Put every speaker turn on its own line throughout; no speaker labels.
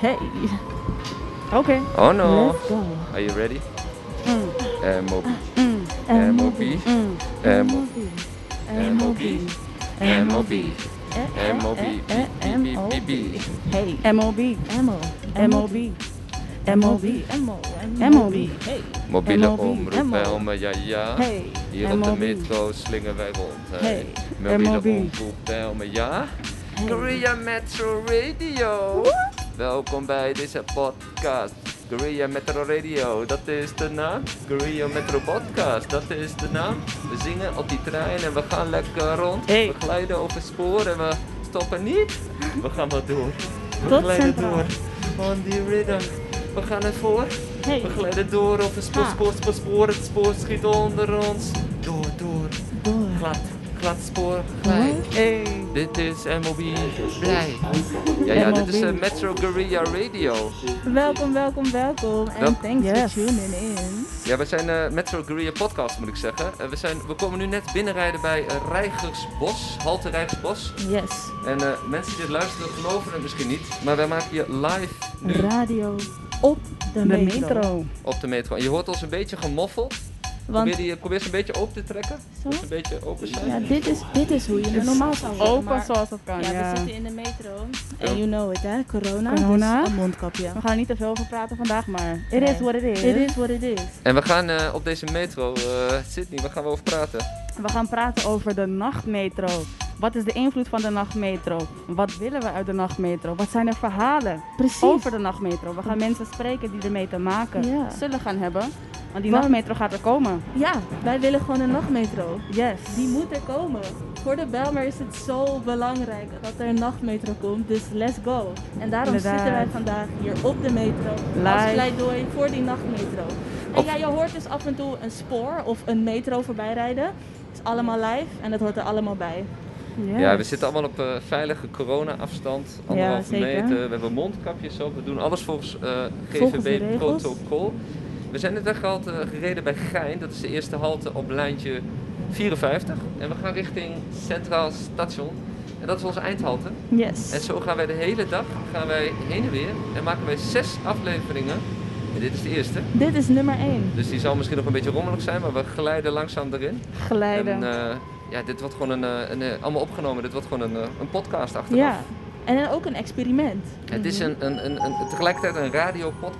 Hey. Okay.
Oh no.
Let's go.
Are you ready? Eh,
Mm.
MOB. MOB.
Mm.
MOB.
MOB. Mm.
MOB.
Eh,
MOB.
eh, eh, eh,
MOB.
Hey.
MOB.
MO.
MOB.
MOB.
MO.
MOB.
Hey.
Mobiele
MOB.
omroep,
MO.
bij Helmen, ja ja.
Hey.
Hier op de
MOB.
metro slingen wij rond.
Hey.
Mobiele
MOB.
omroep, bij Helmen, ja. Korea Metro Radio. Welkom bij deze podcast. Korea Metro Radio, dat is de naam. Korea Metro Podcast, dat is de naam. We zingen op die trein en we gaan lekker rond.
Hey.
We glijden over spoor en we stoppen niet. We gaan maar door. We
Tot
glijden
Centraal.
door. On the rhythm. We gaan ervoor.
Hey.
We glijden door over spoor,
Ha.
spoor, spoor, spoor. Het spoor schiet onder ons. Door, door.
Door.
Glad, glad spoor, glij.
Hey.
Dit is MOB Blij. Ja, ja, dit is eh, Metro Guerrilla Radio.
Welkom, welkom, welkom. En
Welk-
thanks
Yes.
for tuning in.
Ja, we zijn eh, Metro Guerrilla Podcast, moet ik zeggen. Eh, we, zijn, we komen nu net binnenrijden bij eh, Reigersbos, halte Reigersbos.
Yes.
En eh, mensen die dit luisteren geloven het misschien niet, maar wij maken je live nu
Radio op de,
De
metro.
metro.
op de metro. En je hoort ons een beetje gemoffeld.
Want
Probeer, die, probeer eens een beetje open te trekken.
Zo?
Dat ze een beetje open zijn.
ja, dit, is, dit is hoe je het normaal zou doen.
Open
maar-
zoals dat kan,
Ja, we
ja.
zitten in de metro.
Ja.
En you know it, hè? Corona.
Corona.
Dus een mondkapje.
We gaan er niet te veel over praten vandaag, maar
Nee.
it is what it is.
It is what it is.
En we gaan eh, op deze metro, eh, Sydney, waar gaan we over praten?
We gaan praten over de nachtmetro. Wat is de invloed van de nachtmetro? Wat willen we uit de nachtmetro? Wat zijn er verhalen
Precies.
over de nachtmetro? We gaan mensen spreken die ermee te maken
Ja.
zullen gaan hebben. Want die
Want-
nachtmetro gaat er komen.
Ja, wij willen gewoon een nachtmetro.
Yes.
Die moet er komen. Voor de Belmer is het zo belangrijk dat er een nachtmetro komt, dus let's go. En daarom
Inderdaad.
zitten wij vandaag hier op de metro als
Live.
pleidooi voor die nachtmetro. En
Op-
ja, je hoort dus af en toe een spoor of een metro voorbij rijden. Het is allemaal live en dat hoort er allemaal bij.
Yes.
Ja, we zitten allemaal op eh, veilige corona-afstand, anderhalve
zeker.
meter. We hebben mondkapjes op, we doen alles volgens eh,
Volgens de regels.
GVB-protocol. We zijn net echt al eh, gereden bij Gein, dat is de eerste halte op lijntje 54. En we gaan richting Centraal Station. En dat is onze eindhalte.
Yes.
En zo gaan wij de hele dag gaan wij heen en weer en maken wij zes afleveringen. En dit is de eerste.
Dit is nummer 1.
Dus die zal misschien nog een beetje rommelig zijn, maar we glijden langzaam erin.
Glijden.
En eh, ja, dit wordt gewoon een, eh, een, eh, allemaal opgenomen. Dit wordt gewoon een, eh, een podcast achteraf.
Ja. En dan ook een experiment.
Het is een, een, een, een, tegelijkertijd een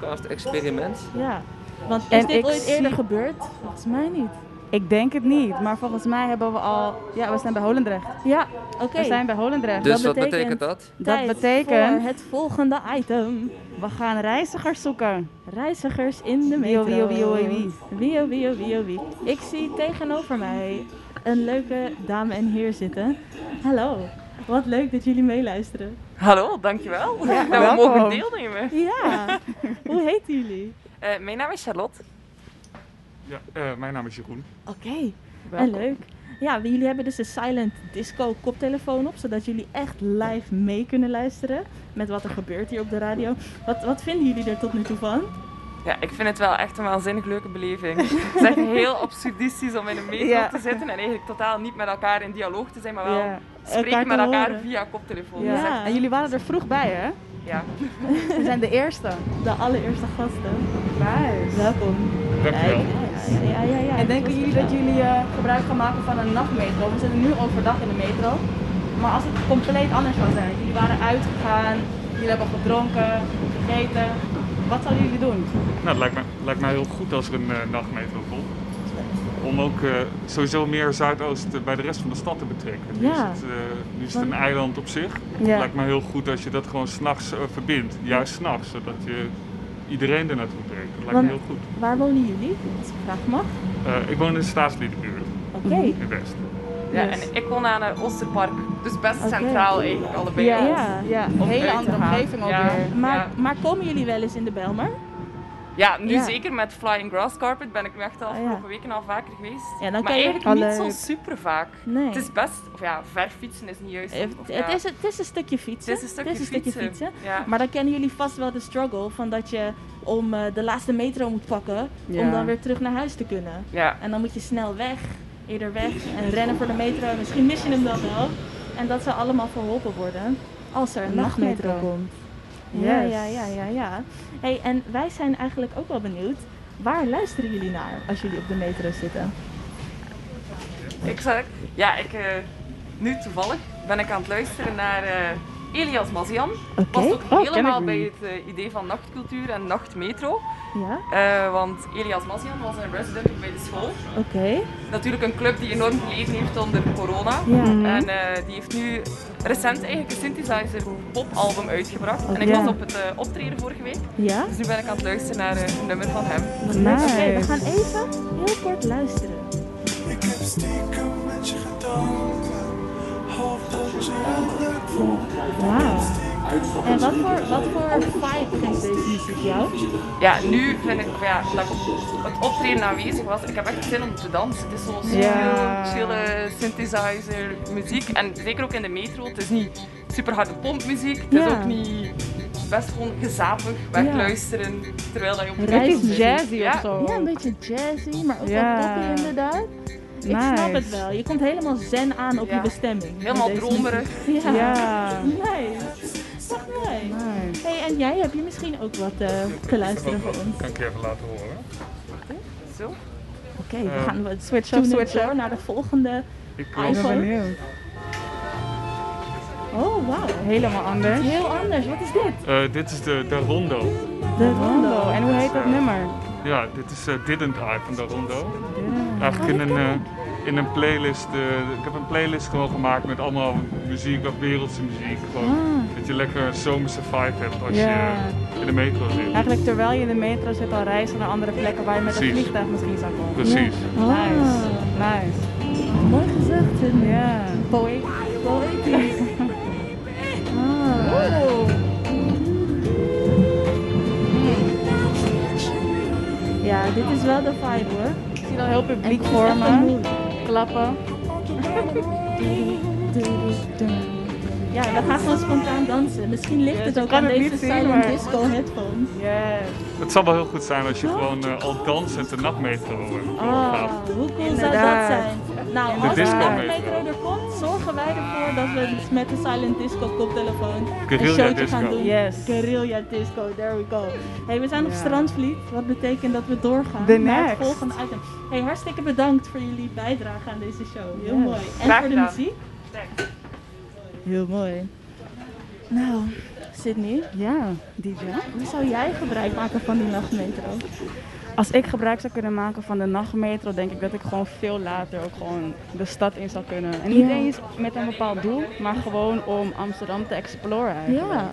radio-podcast-experiment.
Ja. Want is
En
dit
ik
ooit eerder
zie-
gebeurd? Volgens mij niet.
Ik denk het niet, maar volgens mij hebben we al... Ja, we zijn bij Holendrecht.
Ja, oké.
We zijn bij Holendrecht.
Dus wat
betekent-
betekent dat?
Dat
Tijd
betekent-
voor het volgende item.
We gaan reizigers zoeken.
Reizigers in de
Wio,
metro. oh,
wio, wio, wio, wio.
Wio, wio, wio, wio. Ik zie tegenover mij een leuke dame en heer zitten. Hallo. Wat leuk dat jullie meeluisteren.
Hallo, dankjewel. dat we
welkom.
mogen deelnemen.
Ja. Hoe heten jullie?
Eh, mijn naam is Charlotte.
Ja, eh, mijn naam is Jeroen.
Oké. En leuk. Ja, jullie hebben dus een silent disco koptelefoon op, zodat jullie echt live mee kunnen luisteren met wat er gebeurt hier op de radio. Wat, wat vinden jullie er tot nu toe van?
Ja, ik vind het wel echt een waanzinnig leuke beleving. Het is echt heel absurdistisch om in een metro
Ja.
te zitten en eigenlijk totaal niet met elkaar in dialoog te zijn, maar wel
Ja.
spreken
Elkaar te
met elkaar
horen.
via koptelefoon.
Ja.
Dus echt-
En jullie waren er vroeg bij, hè?
ja.
We zijn de eerste.
De allereerste gasten.
Nice.
Welkom.
Dankjewel.
Ja, ja, ja, ja.
En denken jullie dat jullie eh, gebruik gaan maken van een nachtmetro? We zitten nu overdag in de metro. Maar als het compleet anders zou zijn, jullie waren uitgegaan, jullie hebben gedronken, gegeten. Wat zouden jullie doen?
Nou, het lijkt mij, lijkt mij heel goed als er een eh, nachtmetro komt. Om ook eh, sowieso meer Zuidoost eh, bij de rest van de stad te betrekken. Nu,
Ja.
is het, eh, nu is het een eiland op zich.
Ja.
Het lijkt mij heel goed als je dat gewoon s'nachts eh verbindt. Juist s'nachts, zodat je iedereen er naartoe brengt. Dat lijkt
Want-
me heel goed.
Waar wonen jullie? Als ik graag mag.
Eh, ik woon in de staatsliedenbuurt
Oké.
Mhm.
in West.
Ja,
Yes.
en ik woon aan het Oosterpark, dus best
Oké.
centraal eigenlijk allebei.
Ja,
al.
ja. Een
Om
hele
uit te
andere
gaan.
omgeving ook
Ja.
weer.
Maar,
Ja.
maar komen jullie wel eens in de Belmer?
Ja, nu
Ja. Ah,
zeker met Flying Grass Carpet ben ik nu echt de afgelopen
ja.
weken al vaker geweest.
Ja, dan
maar
kan je- eh,
eigenlijk
Al
niet
leuk.
zo super vaak.
Nee.
Het is best, of ja, ver fietsen is niet juist.
Het,
of ja.
het, is, het is een stukje fietsen.
Het is een stukje fietsen. Ja.
Maar dan kennen jullie vast wel de struggle van dat je om eh, de laatste metro moet pakken om
Ja.
dan weer terug naar huis te kunnen.
Ja.
En dan moet je snel weg, eerder weg en rennen voor de metro. En misschien mis je hem dan wel. En dat zou allemaal verholpen worden als er een
Een nachtmetro.
nachtmetro komt. Ja,
Yes.
ja, ja, ja, ja. Hey, en wij zijn eigenlijk ook wel benieuwd. Waar luisteren jullie naar als jullie op de metro zitten?
Ik zeg, ja, ik, eh, nu toevallig ben ik aan het luisteren naar eh, Elias Mazian.
Oké.
Past ook
Oh,
helemaal
ken
bij
ik
het eh, idee van nachtcultuur en nachtmetro.
niet. Ja,
Eh, want Elias Mazian was een resident ook bij de school.
oké.
Natuurlijk een club die enorm geleden heeft onder corona.
Ja.
En eh, die heeft nu recent eigenlijk een synthesizer popalbum uitgebracht. En ik
Ja.
was op het eh, optreden vorige week.
Ja?
Dus nu ben ik aan het luisteren naar eh, een nummer van hem.
Oké, we gaan even heel kort luisteren.
Ik heb stiekem met je gedanken. Hoop dat je het leuk vond.
Wauw. En wat voor, wat voor vibe geeft deze muziek jou?
Ja, nu vind ik ja, dat het optreden aanwezig was. Ik heb echt zin om te dansen. Het is zo'n chill,
Ja.
chille synthesizer muziek. En zeker ook in de metro. Het is niet super harde pompmuziek. Het is
Ja.
ook niet best gewoon gezapig wegluisteren terwijl dat je op de
Het
metro
is dus-
zit.
jazzy of
Ja.
zo.
Ja, een beetje jazzy, maar ook
Ja.
wel poppy inderdaad. Ik snap het wel. Je komt helemaal zen aan op
Ja.
je bestemming.
Helemaal
met deze
dromerig.
muziek. Ja.
Ja.
Nice. Echt nice.
Nice.
Hey, en jij heb je misschien ook wat eh, te luisteren voor ons?
Kan ik je even laten horen?
Zo.
Oké, we
Eh,
gaan wat
Switch
tunen
up, switch
door
up.
naar de volgende.
Ik
Ah, is
was,
dat-
benieuwd.
Oh, wauw.
Helemaal anders.
Heel anders. Wat is dit?
Eh, dit is de, de Rondo.
De
Rondo. En hoe heet dat
Ja.
nummer?
Ja, dit is eh, Didn't I van de Rondo. Eigenlijk in een, eh, in een playlist. eh, ik heb een playlist gewoon gemaakt met allemaal muziek, ook wereldse muziek. Gewoon,
Ah.
Dat je lekker een zomerse vibe hebt als
Ja.
je eh, in de metro zit.
Eigenlijk terwijl je in de metro zit al reizen naar andere plekken waar je met een
Precies.
vliegtuig misschien zou komen.
Precies.
Nice.
Nice.
Nice.
Mooi gezegd. Tim.
Ja.
Poë- Poëtisch. Ah. Ja, dit is wel de vibe hoor.
Ik zie al heel publiek
Ik
voor me.
vormen.
Klappen.
Ja, we gaan gewoon spontaan dansen. Misschien ligt
Ja,
het
ze
ook
kan
aan
het
deze
niet zien,
silent
maar-
disco headphones.
Yes.
Het zal wel heel goed zijn als je gewoon eh, al dansend de nachtmetro eh,
Ah,
gaat.
hoe cool
Inderdaad.
zou dat zijn? Nou,
De
als de
disco
metro er komt, zorgen wij ervoor dat we dus met de silent disco koptelefoon een
Guerrilla
showtje
disco.
gaan doen.
Yes.
Guerrilla disco, there we go. Hey, we zijn op
Ja.
Strandvliet, wat betekent dat we doorgaan
The
naar het
next.
volgende item. Hey, hartstikke bedankt voor jullie bijdrage aan deze show. Heel
Yes.
mooi. En
Graag
voor de
gedaan.
muziek. Heel mooi. Nou, Sydney,
Ja, DJ.
hoe zou jij gebruik maken van die nachtmetro?
Als ik gebruik zou kunnen maken van de nachtmetro, denk ik dat ik gewoon veel later ook gewoon de stad in zou kunnen. En niet
Ja.
eens met een bepaald doel, maar gewoon om Amsterdam te exploren eigenlijk.
Ja,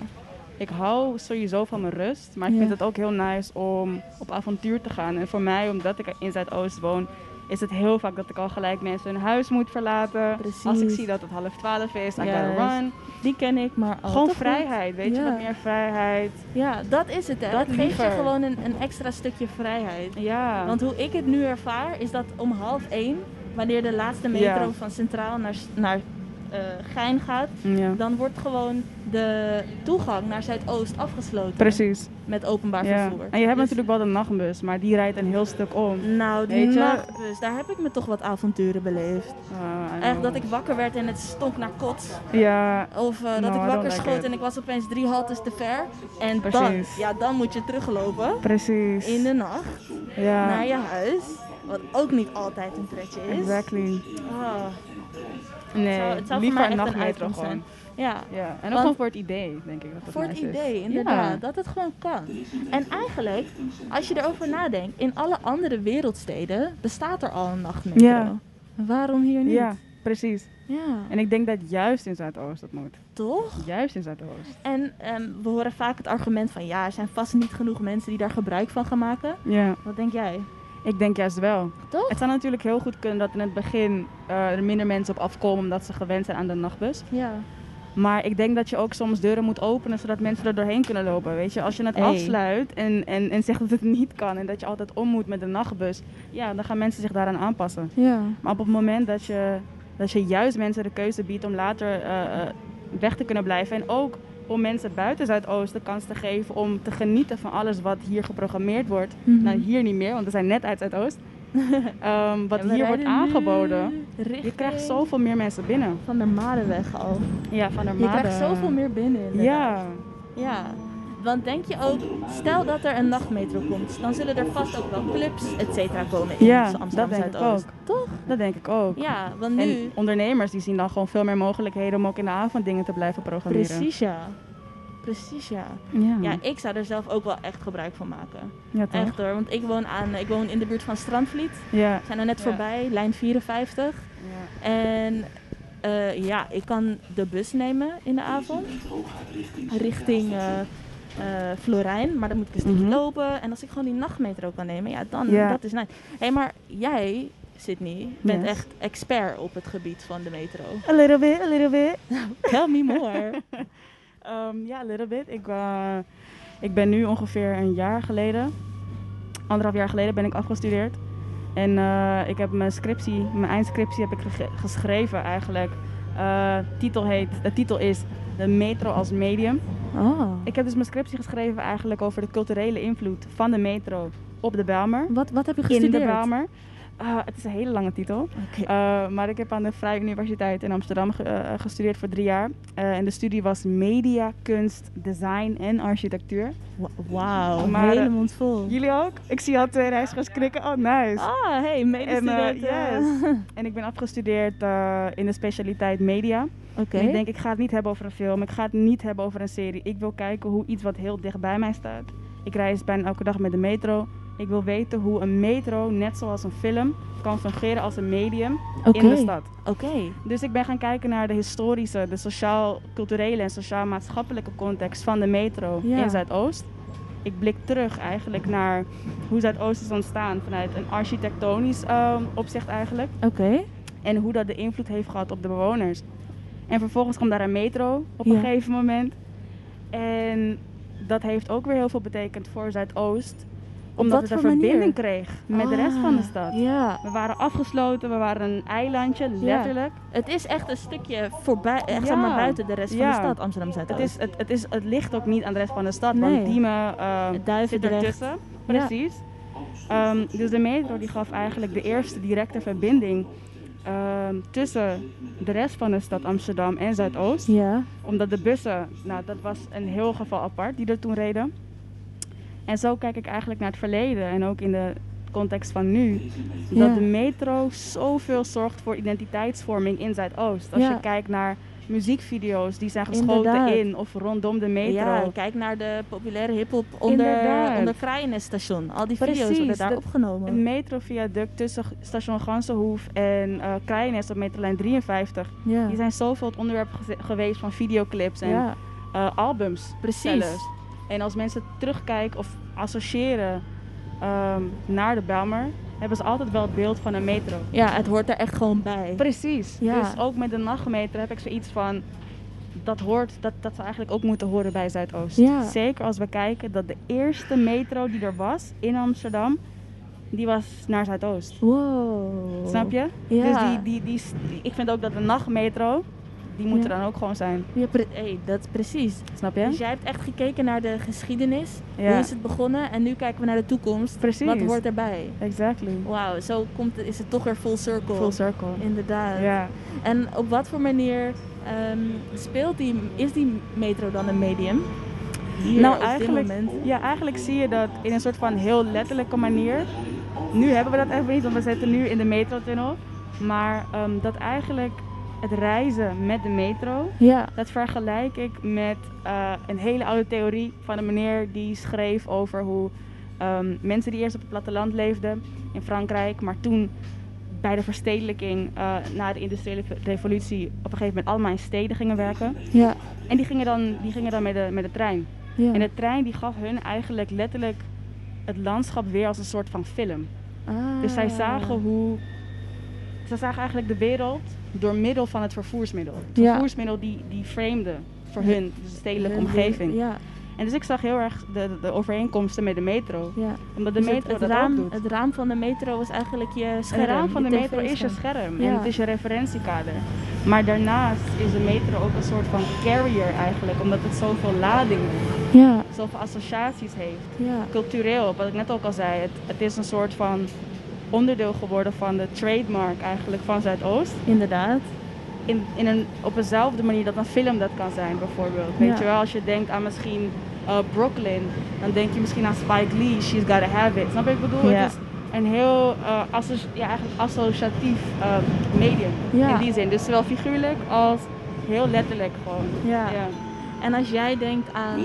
Ik hou sowieso van mijn rust, maar ik
Ja.
vind het ook heel nice om op avontuur te gaan. En voor mij, omdat ik in Zuidoost woon, is het heel vaak dat ik al gelijk mensen hun huis moet verlaten.
Precies.
Als ik zie dat het half twaalf is, I
Juist.
gotta run.
die ken ik, maar al
Gewoon
te goed.
vrijheid, weet
Oh, Ja.
je, wat meer vrijheid.
Ja, dat is het. Hè.
Dat
het geeft je
liever.
gewoon een, een extra stukje vrijheid.
Ja,
Want hoe ik het nu ervaar, is dat om half één, wanneer de laatste metro
Ja.
van Centraal naar, naar eh, Gein gaat,
ja.
dan wordt gewoon de toegang naar Zuidoost afgesloten.
precies.
Met openbaar
Ja.
vervoer.
En je hebt
Dus-
natuurlijk wel de nachtbus, maar die rijdt een heel stuk om.
Nou, die
Weet je?
nachtbus, daar heb ik me toch wat avonturen beleefd.
Ah, I
Echt
know.
dat ik wakker werd en het stonk naar kots.
Ja,
Of eh, dat
No,
ik
I don't
wakker
like
schoot
it.
en ik was opeens drie haltes te ver. En dan,
Precies.
ja, dan moet je teruglopen
precies.
in de nacht
ja.
naar je huis. Wat ook niet altijd een pretje is.
Exactly.
Ah.
Nee,
zou- het zou voor
liever
mij
een
echt een
nachtmetro
item
gewoon.
zijn. Ja.
Ja, en ook
Want-
gewoon voor het idee, denk ik. Dat het
Voor het
nice is.
idee,
Ja.
inderdaad, dat het gewoon kan. En eigenlijk, als je erover nadenkt, in alle andere wereldsteden bestaat er al een nachtmetro.
Ja.
Waarom hier niet?
Ja, precies.
Ja,
En ik denk dat juist in Zuidoost dat moet.
toch?
Juist in Zuidoost.
En ehm, we horen vaak het argument van ja, er zijn vast niet genoeg mensen die daar gebruik van gaan maken.
Ja,
Wat denk jij?
ik denk juist wel.
Toch?
Het zou natuurlijk heel goed kunnen dat in het begin eh, er minder mensen op afkomen omdat ze gewend zijn aan de nachtbus.
Ja.
Maar ik denk dat je ook soms deuren moet openen zodat mensen er doorheen kunnen lopen. Weet je, als je het
Hey.
afsluit en, en, en zegt dat het niet kan en dat je altijd om moet met de nachtbus, ja, dan gaan mensen zich daaraan aanpassen.
Ja.
Maar op het moment dat je, dat je juist mensen de keuze biedt om later eh, eh, weg te kunnen blijven. En ook om mensen buiten Zuidoost de kans te geven om te genieten van alles wat hier geprogrammeerd wordt.
Mhm.
Nou, hier niet meer, want we zijn net uit Zuidoost. Ehm wat
En we
hier wordt
rijden nu
aangeboden. Je
richting
krijgt zoveel meer mensen binnen.
Van der Marenweg al.
Ja, van der
Je krijgt zoveel meer binnen. inderdaad.
Ja,
Ja. Want denk je ook, stel dat er een nachtmetro komt, dan zullen er vast ook wel clubs, et cetera, komen in
Ja,
onze Amsterdam
dat denk ik
Zuidoost. Toch?
Dat denk ik ook.
Ja, want nu.
En ondernemers die zien dan gewoon veel meer mogelijkheden om ook in de avond dingen te blijven programmeren.
Precies ja. Precies ja.
Ja,
Ja, ik zou er zelf ook wel echt gebruik van maken.
Ja, Hm. toch?
Echt hoor, want ik woon, aan, ik woon in de buurt van Strandvliet.
Ja.
We zijn er net
Ja.
voorbij, lijn 54. En eh, ja, ik kan de bus nemen in de avond richting eh, eh, Florijn, maar dan moet ik een stukje
Mhm.
lopen. En als ik gewoon die nachtmetro kan nemen, ja, dan
Ja.
dat is nice. Hé, hey, maar jij, Sydney, bent
Yes.
echt expert op het gebied van de metro.
A little bit, a little bit.
Tell me more.
Ehm, ja, a little bit. Ik, eh, ik ben nu ongeveer een jaar geleden, anderhalf jaar geleden, ben ik afgestudeerd. En eh, ik heb mijn scriptie, mijn eindscriptie heb ik gege- geschreven eigenlijk. Eh, titel heet, de titel is De metro als medium.
Oh.
Ik heb dus mijn scriptie geschreven eigenlijk over de culturele invloed van de metro op de Bijlmer.
Wat, wat heb je
In
gestudeerd?
de Bijlmer. Eh, het is een hele lange titel.
Oké.
Eh, maar ik heb aan de Vrije Universiteit in Amsterdam ge- eh, gestudeerd voor drie jaar. Eh, en de studie was media, kunst, design en architectuur.
Wa- Wauw,
Maar,
hele
eh,
mond vol.
Jullie ook? Ik zie al twee reizigers knikken. Oh, nice.
Ah, hey,
en, eh,
medestudenten.
yes. en ik ben afgestudeerd eh, in de specialiteit media.
Oké.
En ik denk, ik ga het niet hebben over een film. Ik ga het niet hebben over een serie. Ik wil kijken hoe iets wat heel dicht bij mij staat. Ik reis bijna elke dag met de metro. Ik wil weten hoe een metro, net zoals een film, kan fungeren als een medium in de
Oké.
stad.
Oké.
Dus ik ben gaan kijken naar de historische, de sociaal-culturele en sociaal-maatschappelijke context van de metro
Ja.
in Zuidoost. Ik blik terug eigenlijk naar hoe Zuidoost is ontstaan vanuit een architectonisch ehm, opzicht eigenlijk.
Oké.
En hoe dat de invloed heeft gehad op de bewoners. En vervolgens kwam daar een metro op
Ja.
een gegeven moment. En dat heeft ook weer heel veel betekend voor Zuidoost. Omdat
wat
het een
voor manier?
verbinding kreeg met de rest van de
Ah,
stad.
Ja.
We waren afgesloten, we waren een eilandje, letterlijk.
Het is echt een stukje voorbij, echt
Ja.
zeg maar buiten de rest
Ja.
van de stad Amsterdam Zuidoost.
Het, is, het, het, is, het ligt ook niet aan de rest van de stad,
Nee.
want Diemen eh,
Het duiven
zit
er echt.
ertussen. Precies. Ehm, dus de metro die gaf eigenlijk de eerste directe verbinding ehm, tussen de rest van de stad Amsterdam en Zuidoost.
Ja.
Omdat de bussen, nou dat was een heel geval apart, die er toen reden. En zo kijk ik eigenlijk naar het verleden en ook in de context van nu. Dat
Ja.
de metro zoveel zorgt voor identiteitsvorming in Zuidoost. Als
Ja.
je kijkt naar muziekvideo's die zijn geschoten
Inderdaad.
in of rondom de metro.
Ja, kijk naar de populaire hiphop onder,
Inderdaad.
onder Kraaienneststation. Al die video's
Precies,
worden daar
dat-
opgenomen.
Een metroviaduct tussen g- station Gansenhoef en eh Kraaienest op metrolijn 53.
Ja.
Die zijn zoveel het onderwerp geze- geweest van videoclips en
ja.
eh, albums.
Precies.
zelfs. En als mensen terugkijken of associëren ehm, naar de Belmer, hebben ze altijd wel het beeld van een metro.
Ja, het hoort er echt gewoon bij.
Precies.
Ja.
Dus ook met de nachtmetro heb ik zoiets van. Dat hoort, dat, dat zou eigenlijk ook moeten horen bij Zuidoost.
Ja.
Zeker als we kijken dat de eerste metro die er was in Amsterdam, die was naar Zuidoost.
Wow.
Snap je?
Ja.
Dus die, die, die, s- die- ik vind ook dat de nachtmetro, die moet
Ja.
er dan ook gewoon zijn.
Ja, pre- hey, dat is precies.
Snap
Dus
je?
jij hebt echt gekeken naar de geschiedenis.
Ja.
Hoe is het begonnen? En nu kijken we naar de toekomst.
Precies.
Wat hoort erbij?
Exactly.
Wauw, zo komt, is het toch weer full circle.
Full circle.
Inderdaad.
Ja.
En op wat voor manier ehm, speelt die, is die metro dan een medium? Hier
nou,
op
eigenlijk,
dit moment.
ja, eigenlijk zie je dat in een soort van heel letterlijke manier. Nu hebben we dat even niet, want we zitten nu in de metrotunnel. Maar ehm, dat eigenlijk het reizen met de metro,
Ja.
dat vergelijk ik met eh, een hele oude theorie van een meneer die schreef over hoe ehm, mensen die eerst op het platteland leefden in Frankrijk, maar toen bij de verstedelijking eh, na de industriële revolutie op een gegeven moment allemaal in steden gingen werken.
Ja.
En die gingen dan, die gingen dan met, de, met de trein.
ja.
En de trein die gaf hun eigenlijk letterlijk het landschap weer als een soort van film.
Ah.
Dus zij zagen hoe. Zij zagen eigenlijk de wereld door middel van het vervoersmiddel. Het
Ja.
vervoersmiddel die, die framede voor hun, dus de stedelijke omgeving.
Ja,
En dus ik zag heel erg de, de overeenkomsten met de metro.
ja.
Omdat de
Dus het,
metro
het
dat
raam,
ook doet.
het raam van de metro is eigenlijk je scherm.
Het raam van
je
de metro is je
TV-scherm.
scherm
Ja.
en het is je referentiekader. Maar daarnaast is de metro ook een soort van carrier eigenlijk, omdat het zoveel ladingen,
Ja,
zoveel associaties heeft.
ja.
Cultureel, wat ik net ook al zei, het, het is een soort van onderdeel geworden van de trademark eigenlijk van Zuidoost.
Inderdaad.
In, in een, op eenzelfde manier dat een film dat kan zijn bijvoorbeeld. Weet
Ja.
je wel, als je denkt aan misschien eh, Brooklyn. Dan denk je misschien aan Spike Lee, She's Gotta Have It. Snap je wat ik bedoel?
Ja.
Het is een heel eh, asso- ja, eigenlijk associatief eh, medium
Ja.
in die zin. Dus zowel figuurlijk als heel letterlijk gewoon.
Ja.
Ja.
En als jij denkt aan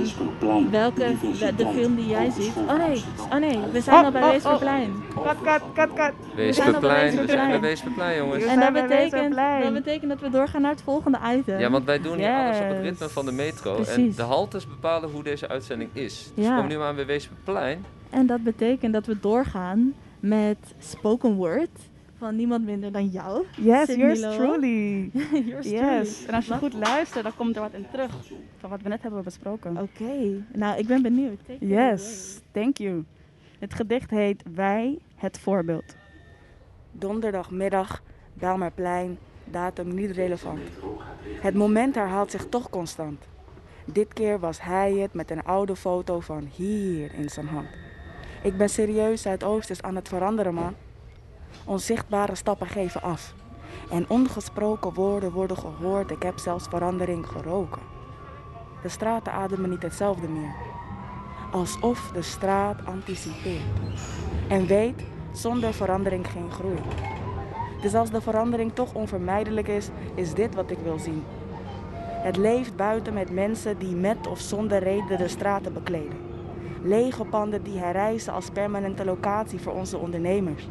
welke de, de film die jij ziet. Oh nee, oh nee, we zijn
Oh,
al bij
oh, oh.
Weesperplein.
Kat, kat, kat, kat.
Weesperplein,
zijn
we
op
zijn
Weesperplein.
bij Weesperplein, jongens.
We
En dat
zijn bij
betekent,
Weesperplein.
dat betekent dat we doorgaan naar het volgende item.
Ja, want wij doen hier alles op het
Yes.
ritme van de metro. En
Precies.
de haltes bepalen hoe deze uitzending is. Dus
Ja.
kom nu aan bij Weesperplein.
En dat betekent dat we doorgaan met spoken word van niemand minder dan jou.
Yes,
Sydney
yours
Lowell.
truly.
Yours
Yes. En als je
Wat?
goed luistert, dan komt er wat in terug van wat we net hebben besproken.
Oké, nou ik ben benieuwd. Take it away.
Yes, thank you. Het gedicht heet Wij het voorbeeld. Donderdagmiddag, Belmerplein, datum niet relevant. Het moment herhaalt zich toch constant. Dit keer was hij het met een oude foto van hier in zijn hand. Ik ben serieus Zuidoosters aan het veranderen, man. Onzichtbare stappen geven af. En ongesproken woorden worden gehoord. Ik heb zelfs verandering geroken. De straten ademen niet hetzelfde meer alsof de straat anticipeert. En weet, zonder verandering geen groei. Dus als de verandering toch onvermijdelijk is, is dit wat ik wil zien. Het leeft buiten met mensen die met of zonder reden de straten bekleden. Lege panden die herrijzen als permanente locatie voor onze ondernemers.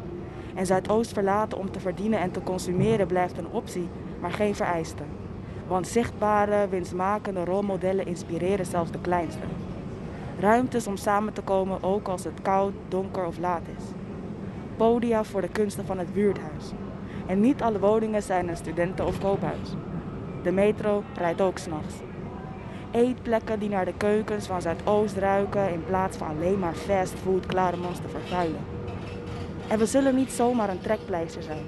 En Zuidoost verlaten om te verdienen en te consumeren blijft een optie, maar geen vereiste. Want zichtbare, winstmakende rolmodellen inspireren zelfs de kleinste. Ruimtes om samen te komen, ook als het koud, donker of laat is. Podia voor de kunsten van het buurthuis. En niet alle woningen zijn een studenten- of koophuis. De metro rijdt ook s'nachts. Eetplekken die naar de keukens van Zuidoost ruiken in plaats van alleen maar fastfood klaremans te vervuilen. En we zullen niet zomaar een trekpleister zijn.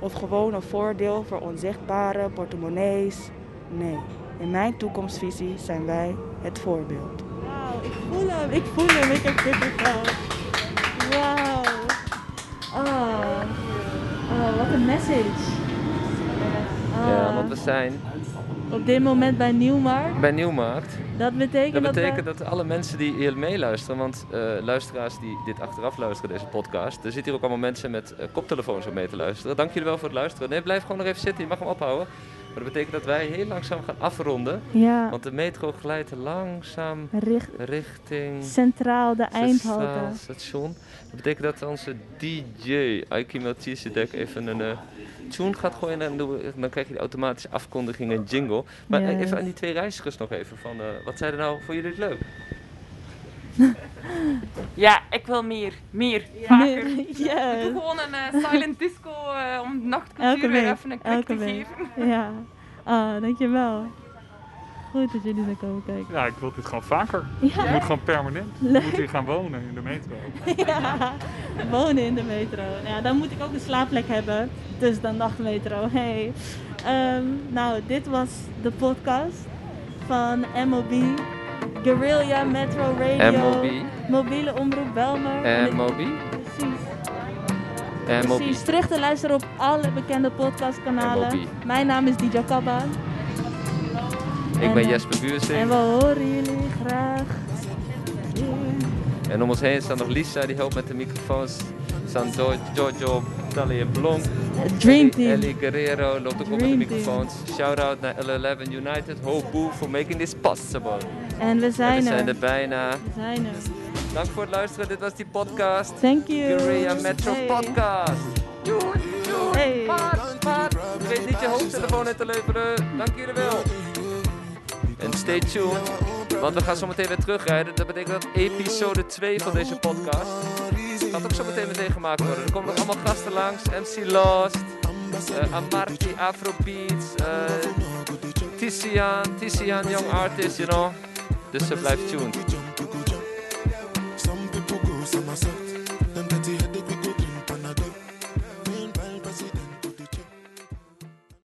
Of gewoon een voordeel voor onzichtbare portemonnees. Nee, in mijn toekomstvisie zijn wij het voorbeeld.
Wauw, ik voel hem, ik voel hem, ik heb kippenvel. Wauw. Oh. oh, wat een message.
Ja,
Ah,
want we zijn
Op dit moment bij Nieuwmarkt.
bij Nieuwmarkt.
Dat betekent
Dat
dat, eh, we-
betekent dat alle mensen die hier meeluisteren, want eh, luisteraars die dit achteraf luisteren, deze podcast, er zitten hier ook allemaal mensen met eh, koptelefoons om mee te luisteren. Dank jullie wel voor het luisteren. Nee, blijf gewoon nog even zitten, je mag hem ophouden. Maar dat betekent dat wij heel langzaam gaan afronden,
Ja,
want de metro glijdt langzaam
richt,
richting
centraal de
Centraal
Eindhoven.
Station. Dat betekent dat onze DJ Aikimo Tjisedek even een eh, tune gaat gooien en dan doen we- dan krijg je die automatische afkondiging en jingle. Maar eh,
Yes.
even aan die twee reizigers nog even van, eh, wat zeiden nou, voor jullie het leuk?
Ja, ik wil meer, meer, vaker. Doe
Yes.
gewoon een eh, silent disco eh, om
Elke
nachtcultuur weer
week,
even een klik
Elke
te
week.
geven.
Ja. Ah, dankjewel. Goed dat jullie er komen kijken.
Ja, ik wil dit gewoon vaker.
Ja.
Ik moet gewoon permanent. Ik moet hier gaan wonen in de metro.
Ja, wonen in de metro. Nou Ja, dan moet ik ook een slaapplek hebben. Dus dan nachtmetro. Hey. Ehm, nou, dit was de podcast van MOB. Guerrilla Metro Radio.
MOB.
Mobiele omroep Belmer. En
En
ik-
Eh, Moby?
Precies.
En Moby.
Precies. Terug te luisteren op alle bekende
En
podcastkanalen.
MOB.
Mijn naam is DJ Kabba.
Ik ben
eh,
Jesper
En
Buursing.
we horen jullie graag.
En om ons heen staan nog Lisa, die helpt met de microfoons. Staan Jo- Giorgio, Tali en Blonk.
Dream
Ellie-
Team.
Ellie Guerrero loopt ook op met de
Dream
microfoons. Shout-out naar L11 United. Ho Boo for making this possible.
En we
En we
zijn er.
zijn er
We
bijna.
zijn er.
Dank voor het luisteren. Dit was die podcast.
Thank you.
Guerrilla Metro
Hey.
Podcast. Doei, doei.
Hey.
Paard, paard. Vergeet niet je hoofdtelefoon in te leveren. Dank jullie wel. En stay tuned, want we gaan zo meteen weer terugrijden. Dat betekent dat episode 2 van deze podcast gaat ook zo meteen meteen gemaakt worden. Er komen nog allemaal gasten langs. MC Lost, eh Amarki, Afrobeats, eh Tizian, Tizian, Young Artist, you know. Dus eh, blijf tuned.